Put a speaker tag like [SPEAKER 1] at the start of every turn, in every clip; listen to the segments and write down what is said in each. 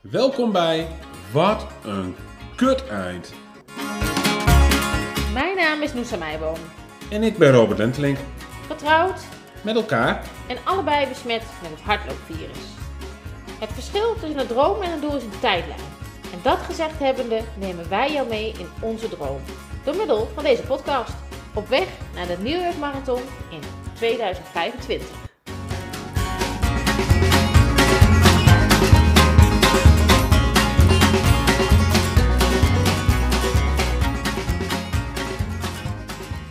[SPEAKER 1] Welkom bij Wat een kut eind.
[SPEAKER 2] Mijn naam is Noosa Meiboom.
[SPEAKER 1] En ik ben Robert Lentelink.
[SPEAKER 2] Getrouwd
[SPEAKER 1] Met elkaar.
[SPEAKER 2] en allebei besmet met het hardloopvirus. Het verschil tussen een droom en een doel is een tijdlijn. En dat gezegd hebbende nemen wij jou mee in onze droom. Door middel van deze podcast. Op weg naar de New York Marathon in 2025.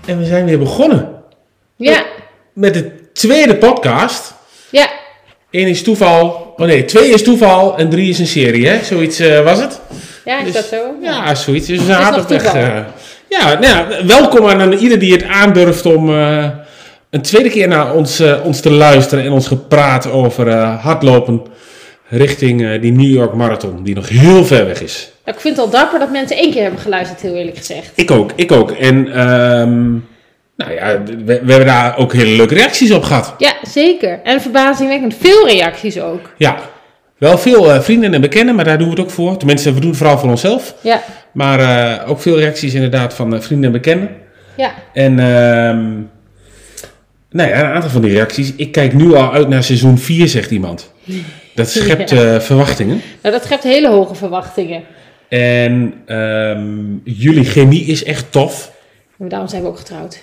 [SPEAKER 1] En we zijn weer begonnen
[SPEAKER 2] Ja,
[SPEAKER 1] met de tweede podcast.
[SPEAKER 2] ja.
[SPEAKER 1] Eén is toeval. Oh nee, twee is toeval en drie is een serie, hè? Zoiets eh, was het.
[SPEAKER 2] Ja, is
[SPEAKER 1] Dus-
[SPEAKER 2] dat zo?
[SPEAKER 1] Ja, zoiets. Dus we zijn
[SPEAKER 2] nog
[SPEAKER 1] hard op weg.
[SPEAKER 2] toeval.
[SPEAKER 1] eh. ja, nou ja, welkom aan ieder die het aandurft om eh, een tweede keer naar ons, eh, ons te luisteren en ons gepraat over eh, hardlopen richting eh, die New York Marathon, die nog heel ver weg is.
[SPEAKER 2] Nou, Ik vind het al dapper dat mensen één keer hebben geluisterd, heel eerlijk gezegd.
[SPEAKER 1] Ik ook, ik ook. En ehm, nou ja, we, we hebben daar ook hele leuke reacties op gehad.
[SPEAKER 2] Ja, zeker. En verbazingwekkend veel reacties ook.
[SPEAKER 1] Ja, wel veel eh, vrienden en bekenden, maar daar doen we het ook voor. Tenminste, we doen het vooral voor onszelf.
[SPEAKER 2] Ja,
[SPEAKER 1] Maar eh, ook veel reacties inderdaad van eh, vrienden en bekenden.
[SPEAKER 2] ja.
[SPEAKER 1] En ehm nou ja, een aantal van die reacties. Ik kijk nu al uit naar seizoen 4, zegt iemand. Dat schept eh, verwachtingen.
[SPEAKER 2] Nou, dat schept hele hoge verwachtingen.
[SPEAKER 1] En ehm, jullie chemie is echt tof.
[SPEAKER 2] Maar daarom zijn we ook getrouwd.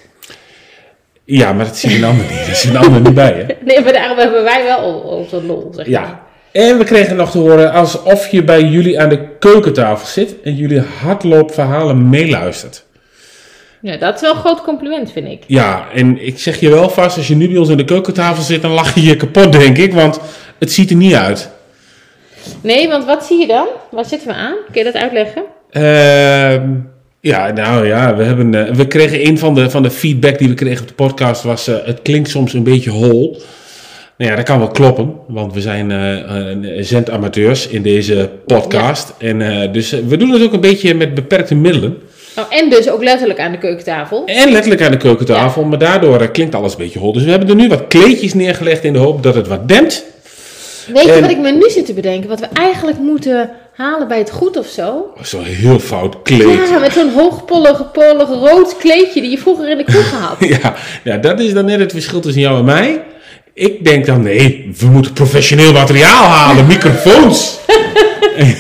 [SPEAKER 1] Ja, maar dat zien een ander niet. Dat zien een ander niet bij, hè?
[SPEAKER 2] Nee, maar daarom hebben wij wel onze lol, zeg maar.
[SPEAKER 1] Ja. En we kregen nog te horen alsof je bij jullie aan de keukentafel zit en jullie hardloopverhalen meeluistert.
[SPEAKER 2] Ja, dat is wel een groot compliment, vind ik.
[SPEAKER 1] Ja, en ik zeg je wel vast, als je nu bij ons aan de keukentafel zit, dan lach je je kapot, denk ik, want het ziet er niet uit.
[SPEAKER 2] Nee, want wat zie je dan? Waar zitten we aan? Kun je dat uitleggen?
[SPEAKER 1] Ehm, ja, nou ja, we, hebben, eh, we kregen een van de, van de feedback die we kregen op de podcast was, eh, het klinkt soms een beetje hol. Nou ja, dat kan wel kloppen, want we zijn eh, eh, zendamateurs in deze podcast. En eh, dus eh, we doen het ook een beetje met beperkte middelen.
[SPEAKER 2] Oh, en dus ook letterlijk aan de keukentafel.
[SPEAKER 1] En letterlijk aan de keukentafel, maar daardoor eh, klinkt alles een beetje hol. Dus we hebben er nu wat kleedjes neergelegd in de hoop dat het wat dempt.
[SPEAKER 2] Weet je
[SPEAKER 1] en-
[SPEAKER 2] wat ik me nu zit te bedenken? Wat we eigenlijk moeten halen bij het goed of zo?
[SPEAKER 1] Oh, Zo'n heel fout kleed.
[SPEAKER 2] Ja, met zo'n hoogpollig, pollig rood kleedje die je vroeger in de kroeg had.
[SPEAKER 1] Ja, ja, dat is dan net het verschil tussen jou en mij. Ik denk dan, nee, we moeten professioneel materiaal halen, microfoons.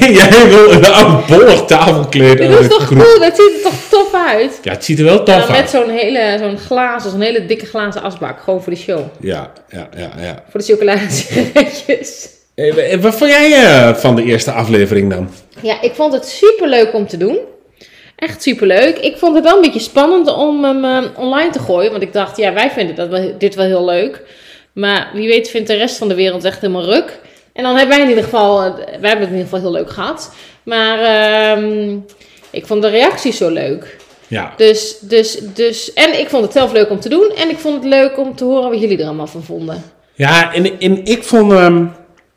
[SPEAKER 1] En Jij wil een oud bollig tafelkleed.
[SPEAKER 2] Dat
[SPEAKER 1] aan
[SPEAKER 2] is
[SPEAKER 1] de
[SPEAKER 2] toch
[SPEAKER 1] kroeg.
[SPEAKER 2] cool? Dat ziet er toch tof uit?
[SPEAKER 1] Ja, het ziet er wel
[SPEAKER 2] En
[SPEAKER 1] tof
[SPEAKER 2] dan met
[SPEAKER 1] uit.
[SPEAKER 2] zo'n hele zo'n glazen, zo'n hele dikke glazen asbak. Gewoon voor de show.
[SPEAKER 1] Ja, ja, ja. ja.
[SPEAKER 2] Voor de chocoladesigaretjes.
[SPEAKER 1] Hey, wa- en wat vond jij eh, van de eerste aflevering dan?
[SPEAKER 2] Ja, ik vond het superleuk om te doen. Echt superleuk. Ik vond het wel een beetje spannend om hem eh, online te gooien. Want ik dacht, ja, wij vinden dat wel, dit wel heel leuk. Maar wie weet vindt de rest van de wereld echt helemaal ruk. En dan hebben wij in ieder geval, eh, wij hebben het in ieder geval heel leuk gehad. Maar ehm, ik vond de reacties zo leuk.
[SPEAKER 1] Ja,
[SPEAKER 2] Dus, dus, dus, en ik vond het zelf leuk om te doen. En ik vond het leuk om te horen wat jullie er allemaal van vonden.
[SPEAKER 1] ja en, en ik, vond, ehm,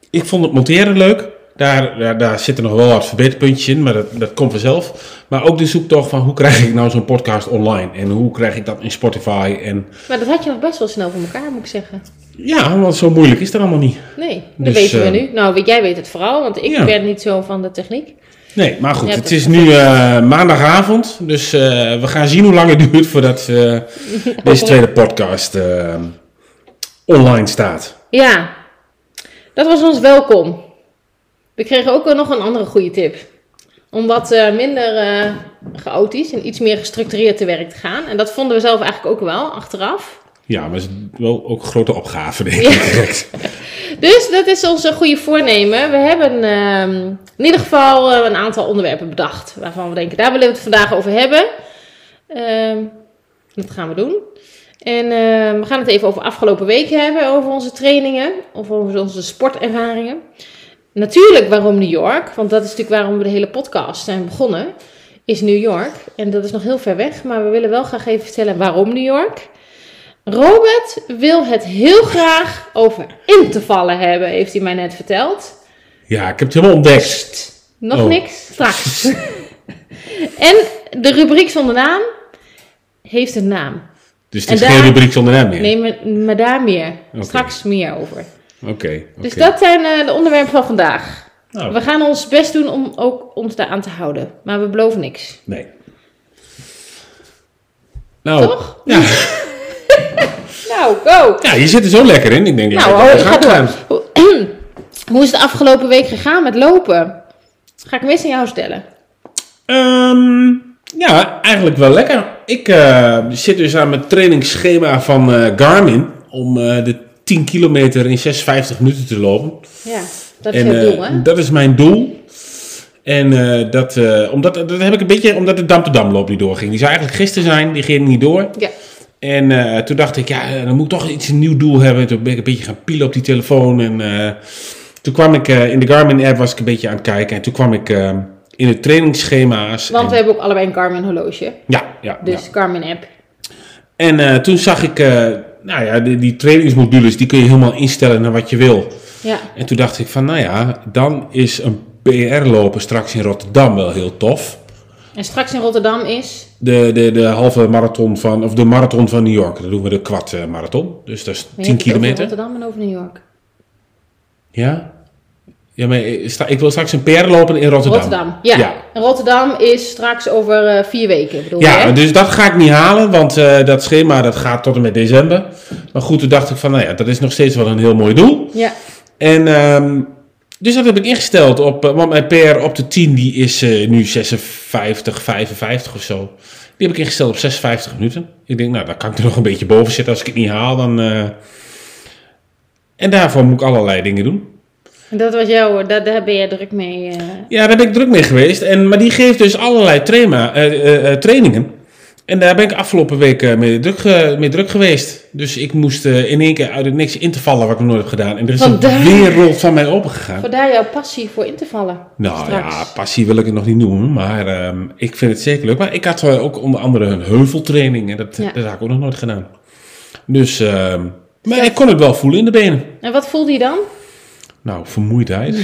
[SPEAKER 1] ik vond het monteren leuk. Daar, daar, daar zitten nog wel wat verbeterpuntjes in, maar dat, dat komt vanzelf. Maar ook de zoektocht van hoe krijg ik nou zo'n podcast online? En hoe krijg ik dat in Spotify? En
[SPEAKER 2] Maar dat had je nog best wel snel voor elkaar, moet ik zeggen.
[SPEAKER 1] Ja, want zo moeilijk is dat allemaal niet.
[SPEAKER 2] Nee,
[SPEAKER 1] Dus,
[SPEAKER 2] dat weten we
[SPEAKER 1] eh,
[SPEAKER 2] nu. Nou, weet- jij weet het vooral, want ik
[SPEAKER 1] Ja.
[SPEAKER 2] ben niet zo van de techniek.
[SPEAKER 1] Nee, maar goed,
[SPEAKER 2] Ja,
[SPEAKER 1] het
[SPEAKER 2] dat-
[SPEAKER 1] is nu eh, maandagavond. Dus eh, we gaan zien hoe lang het duurt voordat eh, deze tweede podcast eh, online staat.
[SPEAKER 2] Ja, dat was ons welkom. We kregen ook wel nog een andere goede tip. Om wat eh, minder eh, chaotisch en iets meer gestructureerd te werk te gaan. En dat vonden we zelf eigenlijk ook wel, achteraf.
[SPEAKER 1] Ja, maar het is wel ook een grote opgave, denk ik. direct.
[SPEAKER 2] Dus dat is ons eh, goede voornemen. We hebben ehm, in ieder geval eh, een aantal onderwerpen bedacht. Waarvan we denken, daar willen we het vandaag over hebben. Ehm, dat gaan we doen. En ehm, we gaan het even over afgelopen week hebben. Over onze trainingen. Of over onze sportervaringen. Natuurlijk waarom New York. Want dat is natuurlijk waarom we de hele podcast zijn begonnen. Is New York. En dat is nog heel ver weg. Maar we willen wel graag even vertellen waarom New York. Robert wil het heel graag over in te vallen hebben, heeft hij mij net verteld.
[SPEAKER 1] Ja, ik heb het helemaal ontdekt.
[SPEAKER 2] Pst, nog
[SPEAKER 1] Oh.
[SPEAKER 2] niks, straks. en de rubriek zonder naam heeft een naam.
[SPEAKER 1] Dus het
[SPEAKER 2] En
[SPEAKER 1] is
[SPEAKER 2] daar-
[SPEAKER 1] geen rubriek zonder hem meer.
[SPEAKER 2] Neem maar, maar daar meer,
[SPEAKER 1] Oké.
[SPEAKER 2] straks meer over.
[SPEAKER 1] Oké. oké.
[SPEAKER 2] Dus dat zijn eh, de onderwerpen van vandaag.
[SPEAKER 1] Nou,
[SPEAKER 2] We gaan ons best doen om ook ons daaraan te houden. Maar we beloven niks.
[SPEAKER 1] nee. Nou,
[SPEAKER 2] Toch?
[SPEAKER 1] Ja,
[SPEAKER 2] Nou, go!
[SPEAKER 1] ja, je zit er zo lekker in. Ik denk,
[SPEAKER 2] Nou,
[SPEAKER 1] ja,
[SPEAKER 2] oh,
[SPEAKER 1] dat
[SPEAKER 2] ik
[SPEAKER 1] gaat
[SPEAKER 2] ga door.
[SPEAKER 1] gaan.
[SPEAKER 2] Hoe- Hoe is het de afgelopen week gegaan met lopen? Ga ik mis aan jou stellen.
[SPEAKER 1] Ehm, ja, eigenlijk wel lekker. Ik eh, zit dus aan mijn trainingsschema van eh, Garmin om eh, de 10 kilometer in 56 minuten te lopen.
[SPEAKER 2] Ja, dat is
[SPEAKER 1] En,
[SPEAKER 2] het
[SPEAKER 1] eh,
[SPEAKER 2] doel, hè?
[SPEAKER 1] dat is mijn doel. En eh, dat, eh, omdat, dat heb ik een beetje omdat de Dam-te-Damloop niet doorging. Die zou eigenlijk gisteren zijn, die ging niet door.
[SPEAKER 2] Ja.
[SPEAKER 1] En eh, toen dacht ik, ja, eh, dan moet ik toch iets een nieuw doel hebben. Toen ben ik een beetje gaan pielen op die telefoon. En eh, toen kwam ik eh, in de Garmin-app, was ik een beetje aan het kijken. En toen kwam ik eh, in de trainingsschema's.
[SPEAKER 2] Want
[SPEAKER 1] en-
[SPEAKER 2] we hebben ook allebei een Garmin horloge.
[SPEAKER 1] ja, ja,
[SPEAKER 2] Dus Garmin app.
[SPEAKER 1] en eh, toen zag ik, eh, nou ja, die, die trainingsmodules, die kun je helemaal instellen naar wat je wil.
[SPEAKER 2] Ja.
[SPEAKER 1] En toen dacht ik van, nou ja, dan is een PR lopen straks in Rotterdam wel heel tof.
[SPEAKER 2] En straks in Rotterdam is...
[SPEAKER 1] De, de, de halve marathon van, of de marathon van New York. Dan doen we de kwart eh, marathon. Dus dat is
[SPEAKER 2] Maar
[SPEAKER 1] 10
[SPEAKER 2] je hebt het over
[SPEAKER 1] kilometer.
[SPEAKER 2] Rotterdam en over New York.
[SPEAKER 1] Ja? Ja, maar eh, sta- ik wil straks een PR lopen in Rotterdam.
[SPEAKER 2] Rotterdam, ja.
[SPEAKER 1] Ja,
[SPEAKER 2] En Rotterdam is straks over eh, vier weken, bedoel je,
[SPEAKER 1] Ja,
[SPEAKER 2] hè?
[SPEAKER 1] dus dat ga ik niet halen, want eh, dat schema dat gaat tot en met december. Maar goed, toen dacht ik van, nou ja, dat is nog steeds wel een heel mooi doel.
[SPEAKER 2] Ja.
[SPEAKER 1] En ehm, dus dat heb ik ingesteld op, eh, want mijn PR op de 10 die is eh, nu 56, 55 of zo. Die heb ik ingesteld op 56 minuten. Ik denk, nou, dan kan ik er nog een beetje boven zitten. Als ik het niet haal, dan. eh, En daarvoor moet ik allerlei dingen doen.
[SPEAKER 2] En Dat was jouw, daar, daar ben jij druk mee. eh.
[SPEAKER 1] Ja, daar ben ik druk mee geweest. En, maar die geeft dus allerlei traima, eh, eh, eh, trainingen. En daar ben ik afgelopen week eh, mee, druk, ge- mee druk geweest. Dus ik moest eh, in één keer uit het niks intervallen wat ik nog nooit heb gedaan. En er is
[SPEAKER 2] Vandaar.
[SPEAKER 1] een wereld van mij opengegaan.
[SPEAKER 2] Vandaar jouw passie voor in te vallen.
[SPEAKER 1] Nou
[SPEAKER 2] straks.
[SPEAKER 1] ja, passie wil ik het nog niet noemen, maar ehm, ik vind het zeker leuk. Maar ik had eh, ook onder andere een heuveltraining en dat,
[SPEAKER 2] Ja.
[SPEAKER 1] dat had ik ook nog nooit gedaan. Dus, ehm, maar ik kon het wel voelen in de benen.
[SPEAKER 2] En wat voelde je dan?
[SPEAKER 1] Nou, vermoeidheid,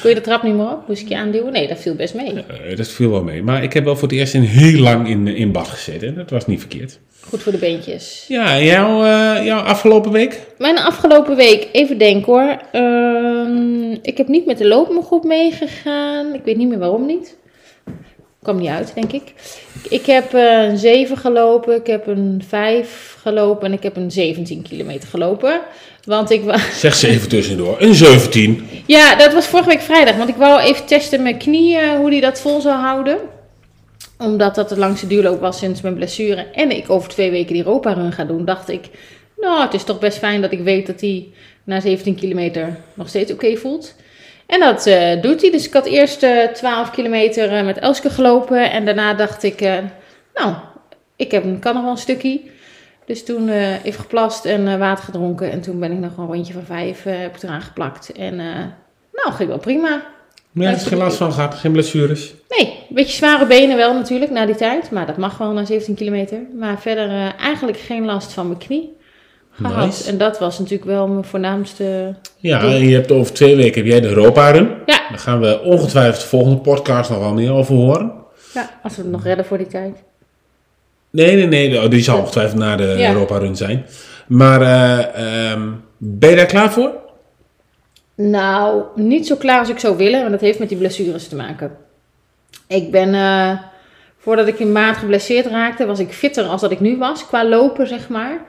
[SPEAKER 2] Kon je de trap niet meer op? Moest ik je aanduwen? Nee, dat viel best mee.
[SPEAKER 1] Eh, dat viel wel mee. Maar ik heb wel voor het eerst in heel lang in, eh, in bad gezeten en dat was niet verkeerd.
[SPEAKER 2] Goed voor de beentjes.
[SPEAKER 1] Ja, en jouw, eh, jouw afgelopen week?
[SPEAKER 2] Mijn afgelopen week, even denken hoor. Ehm, ik heb niet met de loopgroep meegegaan. Ik weet niet meer waarom niet. Kwam niet uit, denk ik. Ik heb eh, een 7 gelopen, ik heb een 5 gelopen en ik heb een 17 kilometer gelopen. Want ik was.
[SPEAKER 1] Zeg ze even tussendoor. Een 17.
[SPEAKER 2] Ja, dat was vorige week vrijdag. Want ik wou even testen mijn knie, eh, hoe die dat vol zou houden. Omdat dat de langste duurloop was sinds mijn blessure. En ik over twee weken die Europa Run ga doen. Dacht ik, nou, het is toch best fijn dat ik weet dat hij na 17 kilometer nog steeds oké voelt. En dat eh, doet hij. Dus ik had eerst eh 12 kilometer eh, met Elske gelopen. En daarna dacht ik, eh, nou, ik heb, kan nog wel een stukje. Dus toen eh even geplast en eh, water gedronken. En toen ben ik nog een rondje van vijf eh, heb ik eraan geplakt. En eh, nou, ging wel prima.
[SPEAKER 1] Nergens geen last van gehad, geen blessures.
[SPEAKER 2] Nee, een beetje zware benen wel natuurlijk na die tijd. Maar dat mag wel na 17 kilometer. Maar verder eh, eigenlijk geen last van mijn knie gehad.
[SPEAKER 1] Nice.
[SPEAKER 2] En dat was natuurlijk wel mijn voornaamste...
[SPEAKER 1] Ja,
[SPEAKER 2] Doe.
[SPEAKER 1] en je hebt over twee weken heb jij de Europa Run.
[SPEAKER 2] Ja.
[SPEAKER 1] Daar gaan we ongetwijfeld de volgende podcast nog wel meer over horen.
[SPEAKER 2] ja, als we het nog redden voor die tijd.
[SPEAKER 1] Nee, nee, nee. oh, Die zal ongetwijfeld na de
[SPEAKER 2] Ja.
[SPEAKER 1] Europa Run zijn. Maar eh, ehm, ben je daar klaar voor?
[SPEAKER 2] Nou, niet zo klaar als ik zou willen, want dat heeft met die blessures te maken. Ik ben, eh, voordat ik in maart geblesseerd raakte, was ik fitter als dat ik nu was, qua lopen zeg maar.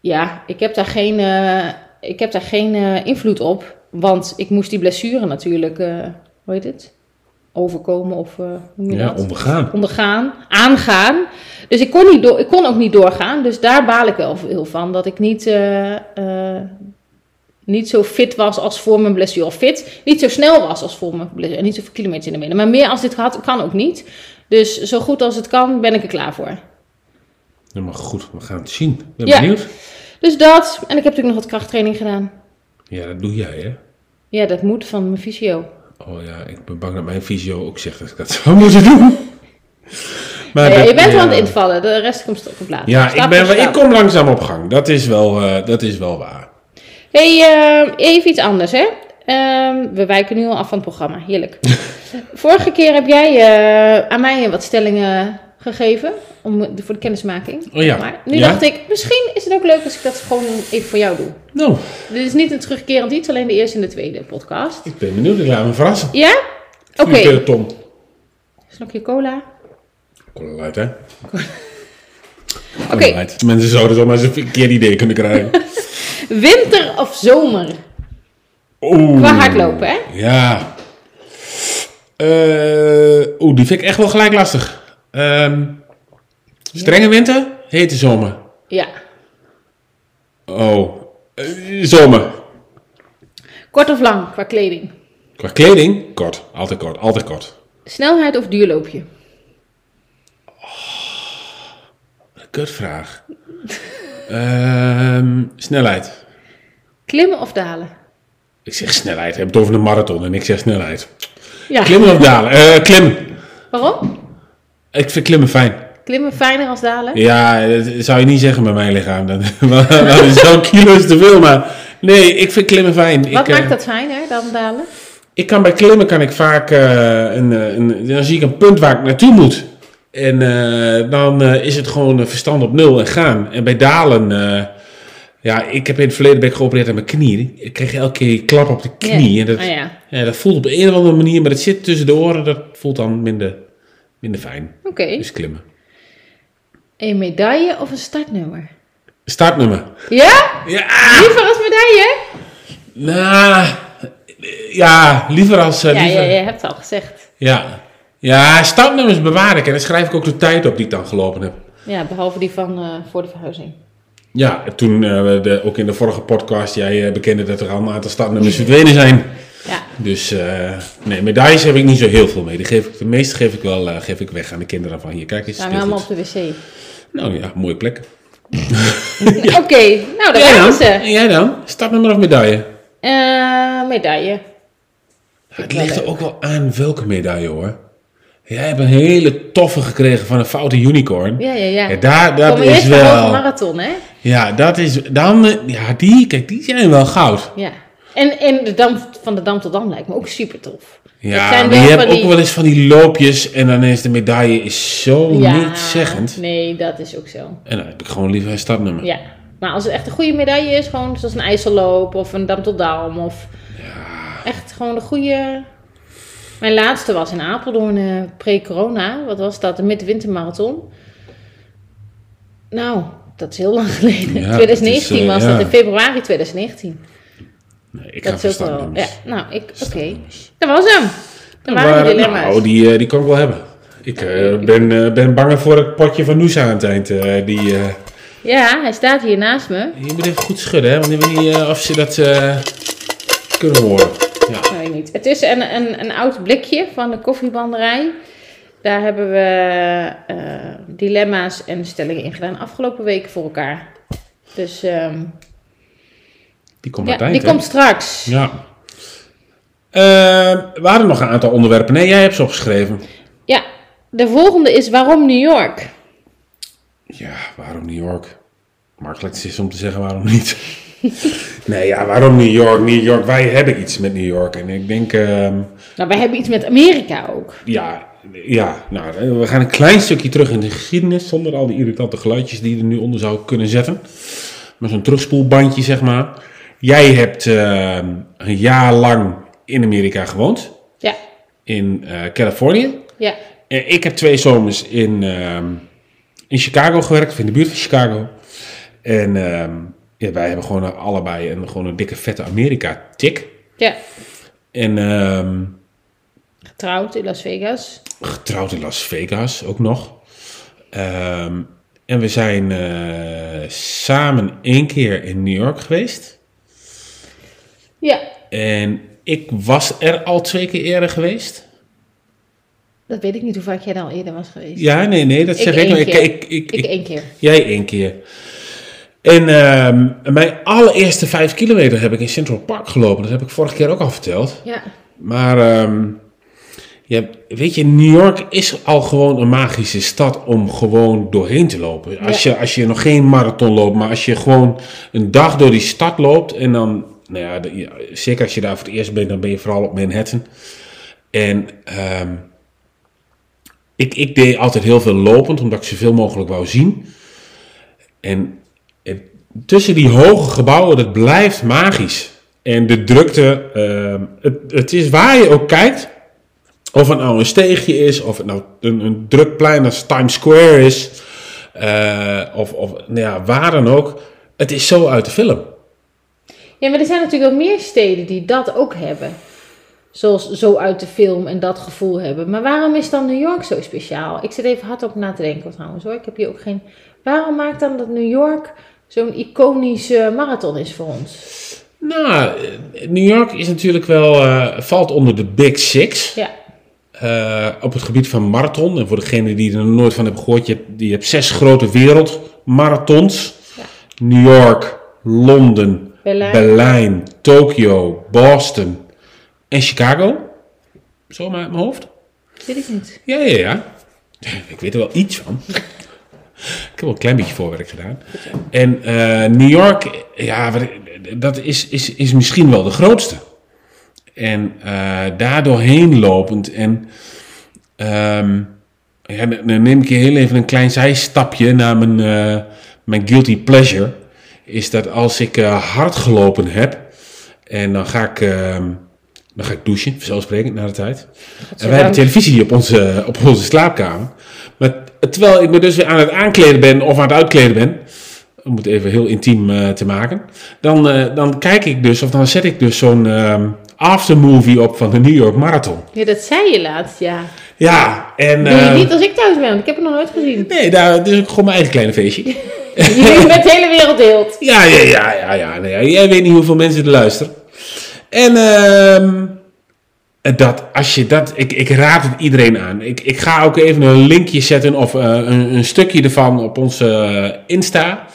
[SPEAKER 2] Ja, ik heb daar geen, eh, ik heb daar geen eh, invloed op, want ik moest die blessure natuurlijk, eh, hoe heet het, overkomen of eh, hoe noem je
[SPEAKER 1] Ja,
[SPEAKER 2] dat?
[SPEAKER 1] ondergaan.
[SPEAKER 2] ondergaan, aangaan. Dus ik kon, niet door, ik kon ook niet doorgaan. Dus daar baal ik wel heel van. Dat ik niet, eh, eh, niet zo fit was als voor mijn blessure. Of fit, niet zo snel was als voor mijn blessure. En niet zoveel kilometers in de midden. Maar meer als dit had, kan ook niet. Dus zo goed als het kan, ben ik er klaar voor.
[SPEAKER 1] Ja, maar goed, we gaan het zien. Ik ben
[SPEAKER 2] Ja.
[SPEAKER 1] benieuwd.
[SPEAKER 2] Dus dat. En ik heb natuurlijk nog wat krachttraining gedaan.
[SPEAKER 1] Ja, dat doe jij, hè?
[SPEAKER 2] Ja, dat moet van mijn fysio.
[SPEAKER 1] Oh ja, ik ben bang dat mijn visio ook zegt dat ik dat zou moeten doen. Maar
[SPEAKER 2] Eh,
[SPEAKER 1] dat-
[SPEAKER 2] je bent wel aan het
[SPEAKER 1] ja.
[SPEAKER 2] invallen. De rest komt st- komt later.
[SPEAKER 1] Ja,
[SPEAKER 2] Stap
[SPEAKER 1] ik, ben,
[SPEAKER 2] voor
[SPEAKER 1] wel- ik
[SPEAKER 2] stap.
[SPEAKER 1] kom langzaam op gang. Dat is wel, eh, dat is wel waar.
[SPEAKER 2] Hey, eh, even iets anders, hè? Ehm, we wijken nu al af van het programma. Heerlijk. Vorige keer heb jij eh, aan mij wat stellingen gegeven om, voor de kennismaking.
[SPEAKER 1] Oh ja.
[SPEAKER 2] Maar nu
[SPEAKER 1] Ja?
[SPEAKER 2] dacht ik, misschien is het ook leuk als ik dat gewoon even voor jou doe.
[SPEAKER 1] Nou,
[SPEAKER 2] Dit is niet een terugkerend iets, alleen de eerste en de tweede podcast.
[SPEAKER 1] ik ben benieuwd. Ik laat me verrassen.
[SPEAKER 2] Ja? Oké.
[SPEAKER 1] Vuurpil, Tom.
[SPEAKER 2] Slokje cola.
[SPEAKER 1] Cola light, hè? Oké.
[SPEAKER 2] Oké.
[SPEAKER 1] Mensen zouden zomaar eens een verkeerd idee kunnen krijgen.
[SPEAKER 2] Winter of zomer?
[SPEAKER 1] Oeh.
[SPEAKER 2] Qua hardlopen, hè?
[SPEAKER 1] Ja. Eh, Oeh, die vind ik echt wel gelijk lastig. Ehm, strenge winter, hete zomer.
[SPEAKER 2] Ja.
[SPEAKER 1] Oh, eh, zomer.
[SPEAKER 2] Kort of lang, qua kleding?
[SPEAKER 1] Qua kleding, kort. Altijd kort, altijd kort.
[SPEAKER 2] Snelheid of duurloopje?
[SPEAKER 1] Kutvraag. Ehm snelheid.
[SPEAKER 2] Klimmen of dalen?
[SPEAKER 1] Ik zeg snelheid. Ik heb het over een marathon en ik zeg snelheid.
[SPEAKER 2] Ja.
[SPEAKER 1] Klimmen of dalen? Eh klimmen.
[SPEAKER 2] Waarom?
[SPEAKER 1] Ik vind klimmen fijn.
[SPEAKER 2] Klimmen fijner als dalen?
[SPEAKER 1] Ja, eh, dat zou je niet zeggen bij mijn lichaam. Dat dat is zo'n kilo's te veel, maar... Nee, ik vind klimmen fijn.
[SPEAKER 2] Wat
[SPEAKER 1] ik, eh,
[SPEAKER 2] maakt dat fijner dan dalen?
[SPEAKER 1] Ik kan bij klimmen kan ik vaak eh, een, eh, een, dan zie ik een punt waar ik naartoe moet. En eh, dan eh, is het gewoon eh, verstand op nul en gaan. En bij dalen, eh, ja, ik heb in het verleden ben ik geopereerd aan mijn knie. Ik kreeg elke keer klap op de knie. En dat,
[SPEAKER 2] Ah, ja.
[SPEAKER 1] ja, dat voelt op de een of andere manier, maar dat zit tussen de oren. Dat voelt dan minder, minder fijn.
[SPEAKER 2] Oké.
[SPEAKER 1] Dus klimmen.
[SPEAKER 2] Een medaille of een startnummer?
[SPEAKER 1] Startnummer.
[SPEAKER 2] Ja?
[SPEAKER 1] Ja,
[SPEAKER 2] Liever als medaille?
[SPEAKER 1] nou, ja, liever als... eh,
[SPEAKER 2] Ja,
[SPEAKER 1] liever,
[SPEAKER 2] ja, je hebt het al gezegd.
[SPEAKER 1] Ja. Ja, startnummers bewaar ik en dan schrijf ik ook de tijd op die ik dan gelopen heb.
[SPEAKER 2] Ja, behalve die van eh, voor de verhuizing.
[SPEAKER 1] Ja, toen eh, we de, ook in de vorige podcast, jij eh, bekende dat er al een aantal startnummers verdwenen zijn.
[SPEAKER 2] Ja.
[SPEAKER 1] Dus eh, nee, medailles heb ik niet zo heel veel mee. Die geef ik, de meeste geef ik wel eh, geef ik weg aan de kinderen van hier. Kijk eens.
[SPEAKER 2] Staan we allemaal op de wc.
[SPEAKER 1] Nou ja, mooie plek.
[SPEAKER 2] Oké, nou daar
[SPEAKER 1] Jij
[SPEAKER 2] gaan
[SPEAKER 1] dan?
[SPEAKER 2] ze.
[SPEAKER 1] En jij dan? Startnummer of medaille?
[SPEAKER 2] Eh, medaille.
[SPEAKER 1] Het
[SPEAKER 2] wel
[SPEAKER 1] ligt er
[SPEAKER 2] leuk.
[SPEAKER 1] ook wel aan welke medaille hoor. Jij hebt een hele toffe gekregen van een foute unicorn.
[SPEAKER 2] Ja, ja, ja.
[SPEAKER 1] Ja, daar, dat
[SPEAKER 2] Kom eerst
[SPEAKER 1] is
[SPEAKER 2] van halve
[SPEAKER 1] wel.
[SPEAKER 2] marathon, hè?
[SPEAKER 1] Ja, dat is. Dan, eh, ja, die, kijk, die zijn wel goud.
[SPEAKER 2] Ja. En, en de dam, van de dam tot dam lijkt me ook super tof.
[SPEAKER 1] Ja, maar je hebt ook wel eens van die loopjes en dan is de medaille is zo niet zeggend.
[SPEAKER 2] Nee, dat is ook zo.
[SPEAKER 1] En dan heb ik gewoon liever een startnummer. Ja,
[SPEAKER 2] Ja. Maar als het echt een goede medaille is, gewoon zoals een ijsselloop of een dam tot dam of echt gewoon de goede. Mijn laatste was in Apeldoorn eh, pre-corona. Wat was dat? De midwintermarathon. Nou, dat is heel lang geleden.
[SPEAKER 1] Ja,
[SPEAKER 2] 2019
[SPEAKER 1] dat is,
[SPEAKER 2] was
[SPEAKER 1] eh,
[SPEAKER 2] dat
[SPEAKER 1] ja.
[SPEAKER 2] in februari 2019.
[SPEAKER 1] nee, ik ga
[SPEAKER 2] dat
[SPEAKER 1] voor
[SPEAKER 2] is ook wel. Ja,
[SPEAKER 1] startnummers.
[SPEAKER 2] nou, ik. Oké.
[SPEAKER 1] Startnummers.
[SPEAKER 2] Dat was hem. Dat waren
[SPEAKER 1] Maar,
[SPEAKER 2] de dilemma's.
[SPEAKER 1] nou, die, eh, die kan ik wel hebben. Ik eh, ben, eh ben bang voor het potje van Noosa aan het eind. eh, die, eh,
[SPEAKER 2] Ja, hij staat hier naast me.
[SPEAKER 1] je moet even goed schudden, hè, want ik weet niet eh, of ze dat eh, kunnen horen. Ja.
[SPEAKER 2] Ik weet niet. Het is een, een, een oud blikje van de koffiebanderij. Daar hebben we eh, dilemma's en stellingen in gedaan afgelopen weken voor elkaar. Dus ehm,
[SPEAKER 1] Die komt
[SPEAKER 2] ja,
[SPEAKER 1] aan het eind.
[SPEAKER 2] die
[SPEAKER 1] hè?
[SPEAKER 2] komt straks.
[SPEAKER 1] Ja. Eh, we hadden nog een aantal onderwerpen. Nee, jij hebt ze opgeschreven.
[SPEAKER 2] Ja, de volgende is waarom New York?
[SPEAKER 1] Ja, waarom New York? Makkelijk is om te zeggen waarom niet. nee, ja, waarom New York? New York, wij hebben iets met New York. En ik denk, ehm,
[SPEAKER 2] Nou, wij hebben iets met Amerika ook.
[SPEAKER 1] ja, ja, nou, we gaan een klein stukje terug in de geschiedenis. Zonder al die irritante geluidjes die je er nu onder zou kunnen zetten. Maar zo'n terugspoelbandje, zeg maar. Jij hebt ehm, een jaar lang in Amerika gewoond.
[SPEAKER 2] Ja,
[SPEAKER 1] In eh, Californië.
[SPEAKER 2] ja,
[SPEAKER 1] Eh, Ik heb twee zomers in, ehm, in Chicago gewerkt, of in de buurt van Chicago. En ehm, ja, wij hebben gewoon allebei een, gewoon een dikke vette Amerika-tik.
[SPEAKER 2] ja.
[SPEAKER 1] En ehm,
[SPEAKER 2] Getrouwd in Las Vegas.
[SPEAKER 1] getrouwd in Las Vegas ook nog. Ehm, en we zijn eh, samen één keer in New York geweest.
[SPEAKER 2] Ja,
[SPEAKER 1] En ik was er al twee keer eerder geweest.
[SPEAKER 2] dat weet ik niet hoe vaak jij daar al eerder was geweest.
[SPEAKER 1] Ja, nee, nee, dat
[SPEAKER 2] Ik
[SPEAKER 1] zeg ik.
[SPEAKER 2] één
[SPEAKER 1] nog. Ik,
[SPEAKER 2] keer.
[SPEAKER 1] ik, ik,
[SPEAKER 2] Ik
[SPEAKER 1] ik-
[SPEAKER 2] één keer.
[SPEAKER 1] Jij één keer. En ehm, mijn allereerste vijf kilometer heb ik in Central Park gelopen. Dat heb ik vorige keer ook al verteld.
[SPEAKER 2] Ja,
[SPEAKER 1] Maar ehm, ja, weet je, New York is al gewoon een magische stad om gewoon doorheen te lopen. Als, je, als je nog geen marathon loopt, maar als je gewoon een dag door die stad loopt. En dan, nou ja, de- ja, zeker als je daar voor het eerst bent, dan ben je vooral op Manhattan. En ehm, Ik, ik deed altijd heel veel lopend, omdat ik zoveel mogelijk wou zien. En, en tussen die hoge gebouwen, dat blijft magisch. En de drukte, ehm, het, het is waar je ook kijkt. Of het nou een steegje is, of het nou een, een druk plein als Times Square is. eh, of of nou ja, waar dan ook. Het is zo uit de film.
[SPEAKER 2] Ja, maar er zijn natuurlijk ook meer steden die dat ook hebben. Zoals zo uit de film en dat gevoel hebben. Maar waarom is dan New York zo speciaal? Ik zit even hardop na te denken trouwens hoor. Ik heb hier ook geen... Waarom maakt dan dat New York zo'n iconische marathon is voor ons?
[SPEAKER 1] Nou, eh, New York is natuurlijk wel, eh, valt onder de Big Six.
[SPEAKER 2] Ja,
[SPEAKER 1] eh, op het gebied van marathon. En voor degene die er nog nooit van hebben gehoord, je hebt, je hebt zes grote wereldmarathons.
[SPEAKER 2] Ja.
[SPEAKER 1] New York, Londen,
[SPEAKER 2] Berlijn.
[SPEAKER 1] Berlijn, Tokio, Boston en Chicago. Zomaar uit mijn hoofd.
[SPEAKER 2] weet ik niet.
[SPEAKER 1] Ja, ja, ja. Ik weet er wel iets van. Ik heb wel een klein beetje voorwerk gedaan. En eh, New York, ja, wat ik- dat is, is, is misschien wel de grootste. En eh daar doorheen lopend. En ehm, ja, dan dan neem ik je heel even een klein zijstapje naar mijn, eh, mijn guilty pleasure. Is dat als ik eh, hard gelopen heb en dan ga ik, ehm, dan ga ik douchen, vanzelfsprekend, na de tijd. En wij hebben televisie op onze, op onze slaapkamer. Maar t- terwijl ik me dus weer aan het aankleden ben of aan het uitkleden ben. Om het even heel intiem eh, te maken. Dan, eh, dan kijk ik dus, of dan zet ik dus zo'n ehm aftermovie op van de New York Marathon.
[SPEAKER 2] Ja, dat zei je laatst, ja.
[SPEAKER 1] Ja, en...
[SPEAKER 2] Doe je
[SPEAKER 1] eh,
[SPEAKER 2] niet als ik thuis ben, want ik heb het nog nooit gezien.
[SPEAKER 1] Nee, daar, dus ik gewoon mijn eigen kleine feestje.
[SPEAKER 2] Je bent met de hele wereld deelt.
[SPEAKER 1] Ja, ja, ja, ja, ja. Nee, ja, jij weet niet hoeveel mensen er luisteren. En ehm, dat, als je dat, ik, ik raad het iedereen aan. Ik, ik ga ook even een linkje zetten of eh, een, een stukje ervan op onze eh, Insta.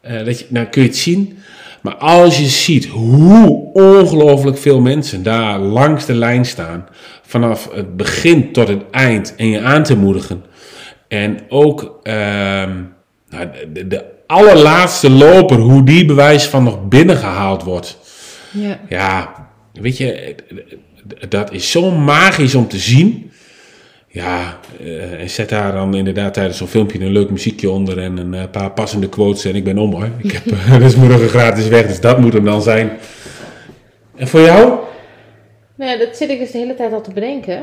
[SPEAKER 1] Eh, dat je, dan kun je het zien. Maar als je ziet hoe ongelooflijk veel mensen daar langs de lijn staan, vanaf het begin tot het eind, en je aan te moedigen. En ook ehm, nou, de, de allerlaatste loper, hoe die bewijs van nog binnengehaald wordt.
[SPEAKER 2] Ja.
[SPEAKER 1] Ja, weet je, eh, eh, dat is zo magisch om te zien. Ja, eh, en zet daar dan inderdaad tijdens zo'n filmpje een leuk muziekje onder en een eh, paar passende quotes en ik ben om hoor. Ik heb eh, dus morgen gratis weg, dus dat moet hem dan zijn. En voor jou?
[SPEAKER 2] Nou ja, dat zit ik dus de hele tijd al te bedenken.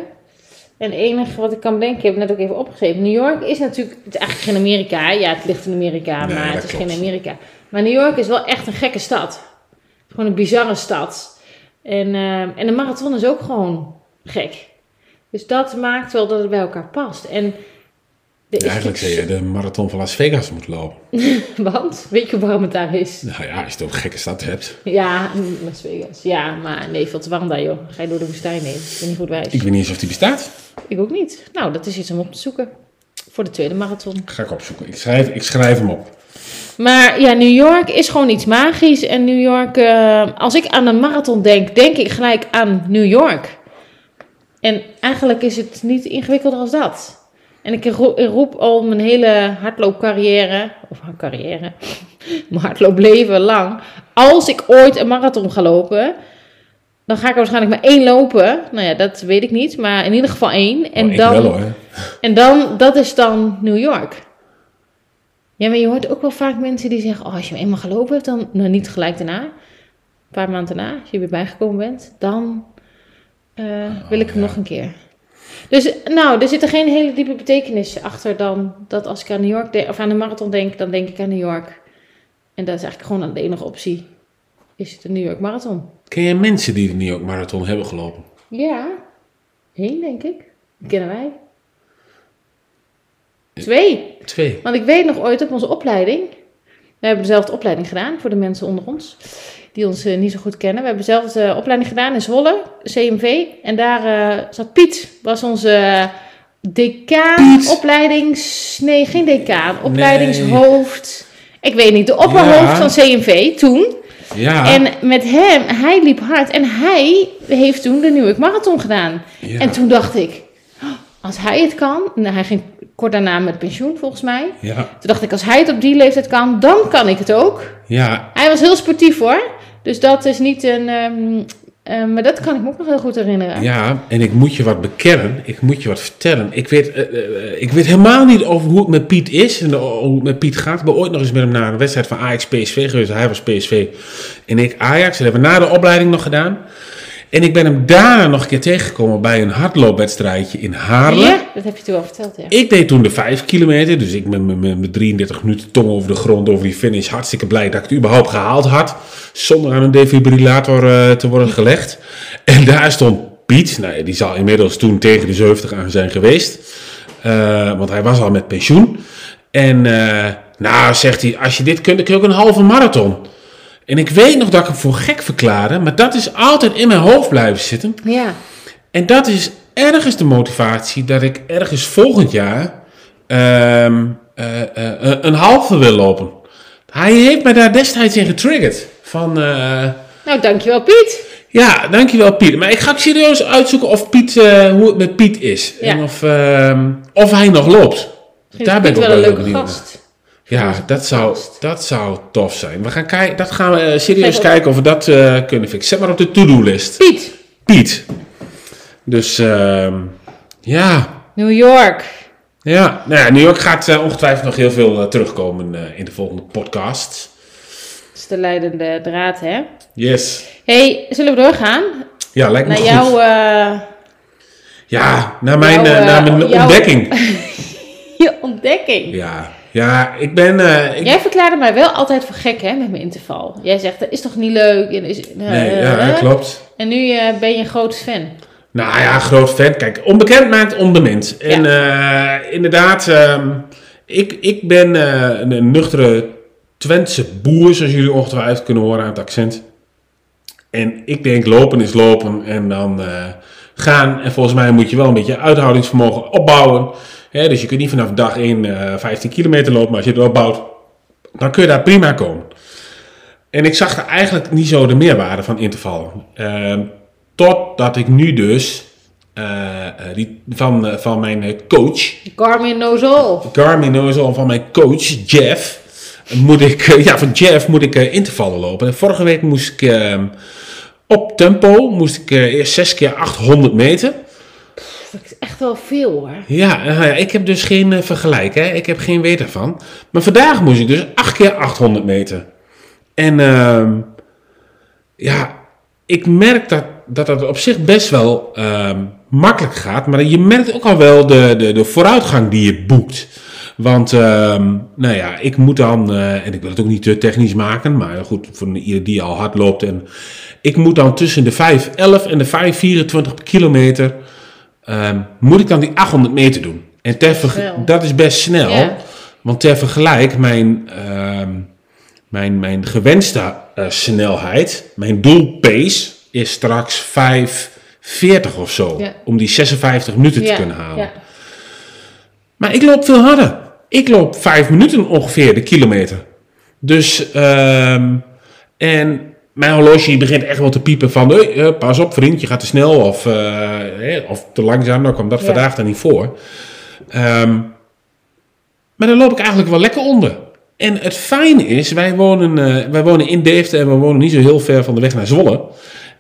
[SPEAKER 2] En het enige wat ik kan bedenken, ik heb het net ook even opgeschreven. New York is natuurlijk, het is eigenlijk geen Amerika. Ja, het ligt in Amerika,
[SPEAKER 1] Nee,
[SPEAKER 2] maar
[SPEAKER 1] dat
[SPEAKER 2] het is
[SPEAKER 1] klopt.
[SPEAKER 2] geen Amerika. Maar New York is wel echt een gekke stad. Gewoon een bizarre stad. En, ehm, en de marathon is ook gewoon gek. Dus dat maakt wel dat het bij elkaar past. En er is
[SPEAKER 1] Ja, eigenlijk zou je de marathon van Las Vegas moeten lopen.
[SPEAKER 2] Want, weet je waarom het daar is?
[SPEAKER 1] Nou ja, als je toch een gekke stad hebt.
[SPEAKER 2] Ja, Las Vegas. Ja, maar nee, veel te warm daar joh. Ga je door de woestijn heen. Ik ben niet goed wijs.
[SPEAKER 1] Ik weet niet eens of die bestaat.
[SPEAKER 2] Ik ook niet. Nou, dat is iets om op te zoeken. Voor de tweede marathon.
[SPEAKER 1] Ga ik opzoeken. Ik schrijf, ik schrijf hem op.
[SPEAKER 2] Maar ja, New York is gewoon iets magisch. En New York, eh, als ik aan een marathon denk, denk ik gelijk aan New York. En eigenlijk is het niet ingewikkelder als dat. En ik ro- ik roep al mijn hele hardloopcarrière, of haar carrière, mijn hardloopleven lang. Als ik ooit een marathon ga lopen, dan ga ik er waarschijnlijk maar één lopen. Nou ja, dat weet ik niet, maar in ieder geval één. En
[SPEAKER 1] Oh, ik
[SPEAKER 2] dan,
[SPEAKER 1] wel hoor.
[SPEAKER 2] en dan, dat is dan New York. Ja, maar je hoort ook wel vaak mensen die zeggen: Oh, als je hem eenmaal gelopen hebt, dan nou, niet gelijk daarna. Een paar maanden daarna, als je weer bijgekomen bent, dan eh, wil ik hem
[SPEAKER 1] ja.
[SPEAKER 2] nog een keer. Dus nou, er zit er geen hele diepe betekenis achter dan dat als ik aan New York denk- of aan de marathon denk, dan denk ik aan New York. En dat is eigenlijk gewoon aan de enige optie. Is de New York Marathon?
[SPEAKER 1] Ken jij mensen die de New York Marathon hebben gelopen?
[SPEAKER 2] Ja, één denk ik. Die kennen wij. Twee.
[SPEAKER 1] Twee.
[SPEAKER 2] Want ik weet nog ooit op onze opleiding. We hebben dezelfde opleiding gedaan voor de mensen onder ons. Die ons eh, niet zo goed kennen. We hebben dezelfde eh, opleiding gedaan in Zwolle, CMV. En daar eh, zat Piet. Was onze eh, decaan,
[SPEAKER 1] Piet!
[SPEAKER 2] opleidings... Nee, geen decaan. Opleidingshoofd. Ik weet niet, de opperhoofd
[SPEAKER 1] Ja. Ah.
[SPEAKER 2] van CMV toen.
[SPEAKER 1] Ja.
[SPEAKER 2] En met hem, hij liep hard. En hij heeft toen de New York Marathon gedaan.
[SPEAKER 1] Ja.
[SPEAKER 2] En toen dacht ik, "Oh, als hij het kan... Nou, hij ging kort daarna met pensioen volgens mij.
[SPEAKER 1] Ja,
[SPEAKER 2] Toen dacht ik, als hij het op die leeftijd kan, dan kan ik het ook.
[SPEAKER 1] ja,
[SPEAKER 2] Hij was heel sportief hoor. Dus dat is niet een ehm, Eh, maar dat kan ik me ook nog heel goed herinneren.
[SPEAKER 1] Ja, en ik moet je wat bekennen. Ik moet je wat vertellen. Ik weet, eh, eh, ik weet helemaal niet over hoe het met Piet is en o- hoe het met Piet gaat. Ik ben ooit nog eens met hem naar een wedstrijd van Ajax-PSV geweest. Hij was PSV en ik Ajax. Dat hebben we na de opleiding nog gedaan. En ik ben hem daarna nog een keer tegengekomen bij een hardloopwedstrijdje in Haarlem.
[SPEAKER 2] Ja, dat heb je toen wel verteld, ja.
[SPEAKER 1] Ik deed toen de 5 kilometer, dus ik met mijn- mijn mijn 33 minuten tong over de grond, over die finish. Hartstikke blij dat ik het überhaupt gehaald had. Zonder aan een defibrillator eh, te worden gelegd. En daar stond Piet, nou, ja, die zal inmiddels toen tegen de 70 aan zijn geweest. Eh, want hij was al met pensioen. En eh, nou, zegt hij, als je dit kunt, dan kun je ook een halve marathon. En ik weet nog dat ik hem voor gek verklaarde, maar dat is altijd in mijn hoofd blijven zitten.
[SPEAKER 2] Ja,
[SPEAKER 1] En dat is ergens de motivatie dat ik ergens volgend jaar ehm, eh, eh, eh, een halve wil lopen. Hij heeft mij daar destijds in getriggerd. Van, eh,
[SPEAKER 2] nou dankjewel Piet.
[SPEAKER 1] ja, dankjewel Piet. Maar ik ga ook serieus uitzoeken of Piet, eh, hoe het met Piet is.
[SPEAKER 2] Ja.
[SPEAKER 1] En of, ehm, of hij nog loopt.
[SPEAKER 2] Misschien is Piet
[SPEAKER 1] ook
[SPEAKER 2] wel een
[SPEAKER 1] heel
[SPEAKER 2] leuke
[SPEAKER 1] benieuwd naar.
[SPEAKER 2] gast.
[SPEAKER 1] Ja, dat zou,
[SPEAKER 2] Gast.
[SPEAKER 1] dat zou tof zijn. We gaan, kijk- dat gaan we eh, serieus
[SPEAKER 2] Geef op.
[SPEAKER 1] kijken of we dat eh, kunnen fixen. Zet maar op de to-do-list.
[SPEAKER 2] Piet,
[SPEAKER 1] Piet. Dus ehm, ja.
[SPEAKER 2] New York.
[SPEAKER 1] Ja, nou ja, New York gaat eh, ongetwijfeld nog heel veel eh, terugkomen eh, in de volgende podcast.
[SPEAKER 2] Dat is de leidende draad, hè?
[SPEAKER 1] Yes.
[SPEAKER 2] hey, zullen we doorgaan?
[SPEAKER 1] Ja, lijkt me
[SPEAKER 2] Naar
[SPEAKER 1] goed.
[SPEAKER 2] jouw... eh,
[SPEAKER 1] ja, naar mijn,
[SPEAKER 2] jouw,
[SPEAKER 1] eh,
[SPEAKER 2] eh,
[SPEAKER 1] naar mijn
[SPEAKER 2] jouw-
[SPEAKER 1] ontdekking.
[SPEAKER 2] Je ontdekking.
[SPEAKER 1] Ja, ja ik ben... eh, ik,
[SPEAKER 2] Jij verklaarde mij wel altijd voor gek, hè, met mijn interval. Jij zegt, dat is toch niet leuk? En, is, eh,
[SPEAKER 1] nee,
[SPEAKER 2] eh,
[SPEAKER 1] ja,
[SPEAKER 2] eh.
[SPEAKER 1] klopt.
[SPEAKER 2] En nu eh, ben je een groot fan.
[SPEAKER 1] Nou ja, groot fan. Kijk, onbekend maakt onbemind. En eh, inderdaad, ehm, ik, ik ben eh, een, een nuchtere Twentse boer, zoals jullie ongetwijfeld kunnen horen aan het accent. En ik denk, lopen is lopen en dan eh, gaan. En volgens mij moet je wel een beetje uithoudingsvermogen opbouwen. Hè, dus je kunt niet vanaf dag 1 eh 15 kilometer lopen, maar als je het opbouwt, dan kun je daar prima komen. En ik zag er eigenlijk niet zo de meerwaarde van intervallen. Ehm, totdat ik nu dus eh, eh, die, van, eh, van mijn eh, coach,
[SPEAKER 2] Garmin knows all.
[SPEAKER 1] Garmin Nozel, van mijn coach Jeff, moet ik, eh, ja, van Jeff moet ik eh, intervallen lopen. En vorige week moest ik ehm, op tempo, moest ik eh, eerst 6 keer 800 meter.
[SPEAKER 2] Dat is echt wel veel, hoor.
[SPEAKER 1] Ja, eh, nou ja, ik heb dus geen eh, vergelijk, hè? ik heb geen weten van. Maar vandaag moest ik dus 8 keer 800 meter. En ehm, ja, ik merk dat, dat dat op zich best wel ehm, makkelijk gaat. Maar je merkt ook al wel de, de, de vooruitgang die je boekt. Want, ehm, nou ja, ik moet dan, eh, en ik wil het ook niet te technisch maken, maar goed, voor ieder die al hard loopt. En ik moet dan tussen de 5,11 en de 5,24 per kilometer, ehm, moet ik dan die 800 meter doen. En ter verge-
[SPEAKER 2] Snel.
[SPEAKER 1] dat is best snel.
[SPEAKER 2] Ja.
[SPEAKER 1] Want ter vergelijk, mijn, ehm, mijn, mijn gewenste eh, snelheid, mijn doelpace, is straks 5,40 of zo.
[SPEAKER 2] Ja.
[SPEAKER 1] Om die 56 minuten
[SPEAKER 2] ja,
[SPEAKER 1] te kunnen halen.
[SPEAKER 2] Ja.
[SPEAKER 1] Maar ik loop veel harder. Ik loop vijf minuten ongeveer de kilometer. Dus, ehm, en mijn horloge begint echt wel te piepen van... "Hey, eh, pas op vriend, je gaat te snel of, eh, hè, of te langzaam. Nou kwam dat
[SPEAKER 2] Ja.
[SPEAKER 1] vandaag dan niet voor. Ehm, maar daar loop ik eigenlijk wel lekker onder. En het fijne is, wij wonen, eh, wij wonen in Deventer en we wonen niet zo heel ver van de weg naar Zwolle.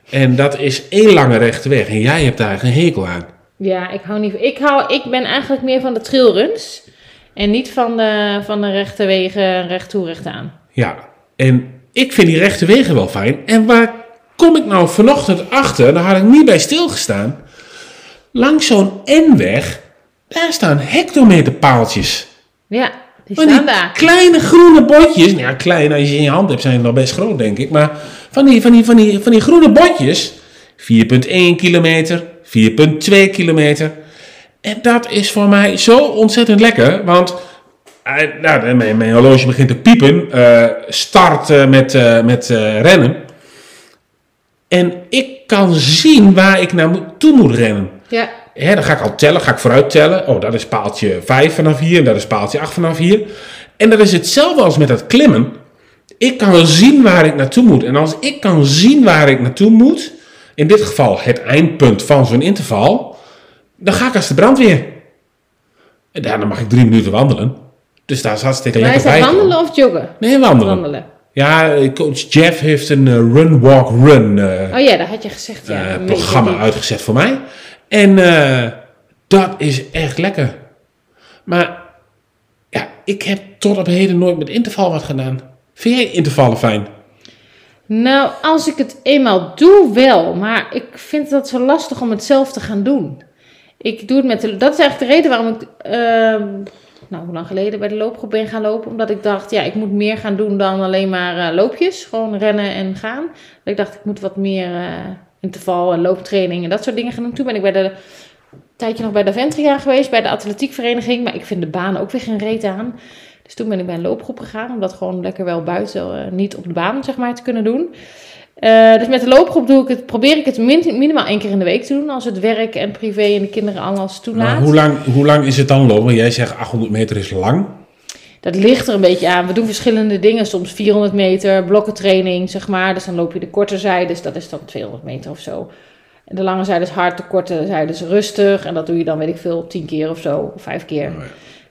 [SPEAKER 1] En dat is één lange rechte weg. En jij hebt daar geen hekel aan.
[SPEAKER 2] Ja, ik hou niet ik, hou, ik ben eigenlijk meer van de trailruns. En niet van de, van de rechte wegen, recht toe, recht aan.
[SPEAKER 1] Ja, en ik vind die rechte wegen wel fijn. En waar kom ik nou vanochtend achter? Daar had ik niet bij stilgestaan. Langs zo'n N-weg, daar staan hectometerpaaltjes.
[SPEAKER 2] Ja, die
[SPEAKER 1] Van Oh, die
[SPEAKER 2] staan daar.
[SPEAKER 1] kleine groene botjes. Nou ja, klein als je ze in je hand hebt zijn ze nog best groot, denk ik. Maar van die, van die, van die, van die groene botjes. 4,1 kilometer, 4,2 kilometer. En dat is voor mij zo ontzettend lekker. Want eh, nou, mijn, mijn horloge begint te piepen. eh, start eh, met, eh, met eh, rennen. En ik kan zien waar ik naartoe moet rennen.
[SPEAKER 2] Ja,
[SPEAKER 1] Hè, dan ga ik al tellen, ga ik vooruit tellen. Oh, dat is paaltje 5 vanaf hier en dat is paaltje 8 vanaf hier. En dat is hetzelfde als met dat klimmen. Ik kan zien waar ik naartoe moet. En als ik kan zien waar ik naartoe moet, in dit geval het eindpunt van zo'n interval, dan ga ik als de brandweer. En daarna mag ik drie minuten wandelen. Dus daar is hartstikke
[SPEAKER 2] maar
[SPEAKER 1] lekker
[SPEAKER 2] is dat
[SPEAKER 1] bij. Oh.
[SPEAKER 2] wandelen of joggen?
[SPEAKER 1] Nee, wandelen.
[SPEAKER 2] Wandelen.
[SPEAKER 1] Ja, eh, coach Jeff heeft een eh, run, walk, run eh,
[SPEAKER 2] Oh ja, dat had je gezegd. Ja,
[SPEAKER 1] eh,
[SPEAKER 2] Een beetje
[SPEAKER 1] programma
[SPEAKER 2] die-
[SPEAKER 1] uitgezet voor mij. En eh, dat is echt lekker. Maar ja, ik heb tot op heden nooit met interval wat gedaan. Vind jij intervallen fijn?
[SPEAKER 2] Nou, als ik het eenmaal doe, wel. Maar ik vind dat zo lastig om het zelf te gaan doen. Ik doe het met de, dat is eigenlijk de reden waarom ik, ehm, nou, hoe lang geleden bij de loopgroep ben gaan lopen. Omdat ik dacht, ja, ik moet meer gaan doen dan alleen maar eh, loopjes. Gewoon rennen en gaan. Dat ik dacht, ik moet wat meer eh, interval en looptraining en dat soort dingen gaan doen. Toen ben ik bij de, een tijdje nog bij Daventria geweest, bij de atletiekvereniging. Maar ik vind de baan ook weer geen reet aan. Dus toen ben ik bij een loopgroep gegaan, om dat gewoon lekker wel buiten, eh, niet op de baan, zeg maar, te kunnen doen. Eh, dus met de loopgroep doe ik het, probeer ik het min- minimaal één keer in de week te doen, als het werk en privé en de kinderen alles toelaat.
[SPEAKER 1] Maar hoe lang, hoe lang is het dan lopen? Want Jij zegt 800 meter is lang.
[SPEAKER 2] Dat ligt er een beetje aan. We doen verschillende dingen. Soms 400 meter, blokkentraining, zeg maar. Dus dan loop je de korte zijdes, dat is dan 200 meter of zo. En de lange zijde is hard, de korte zijde is rustig. En dat doe je dan, weet ik veel, 10 keer of zo, of 5 keer.
[SPEAKER 1] Oh ja.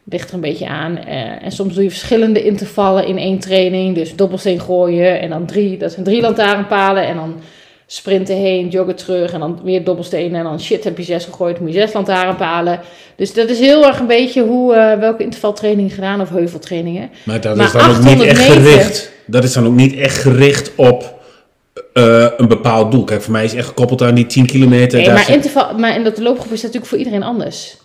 [SPEAKER 2] Ligt er een beetje aan. Eh, en soms doe je verschillende intervallen in één training. Dus dobbelsteen gooien en dan drie. Dat zijn drie lantaarnpalen. En dan sprinten heen, joggen terug. En dan weer dobbelstenen. En dan shit, heb je zes gegooid, moet je zes lantaarnpalen. Dus dat is heel erg een beetje hoe, eh, welke intervaltraining gedaan of heuveltrainingen.
[SPEAKER 1] Maar dat
[SPEAKER 2] Maar
[SPEAKER 1] is dan ook niet
[SPEAKER 2] 800
[SPEAKER 1] echt
[SPEAKER 2] meter.
[SPEAKER 1] gericht. Dat is dan ook niet echt gericht op eh, een bepaald doel. Kijk, voor mij is echt gekoppeld aan die 10 kilometer.
[SPEAKER 2] Nee,
[SPEAKER 1] daar
[SPEAKER 2] maar,
[SPEAKER 1] zit-
[SPEAKER 2] interval, maar in dat loopgroep is dat natuurlijk voor iedereen anders.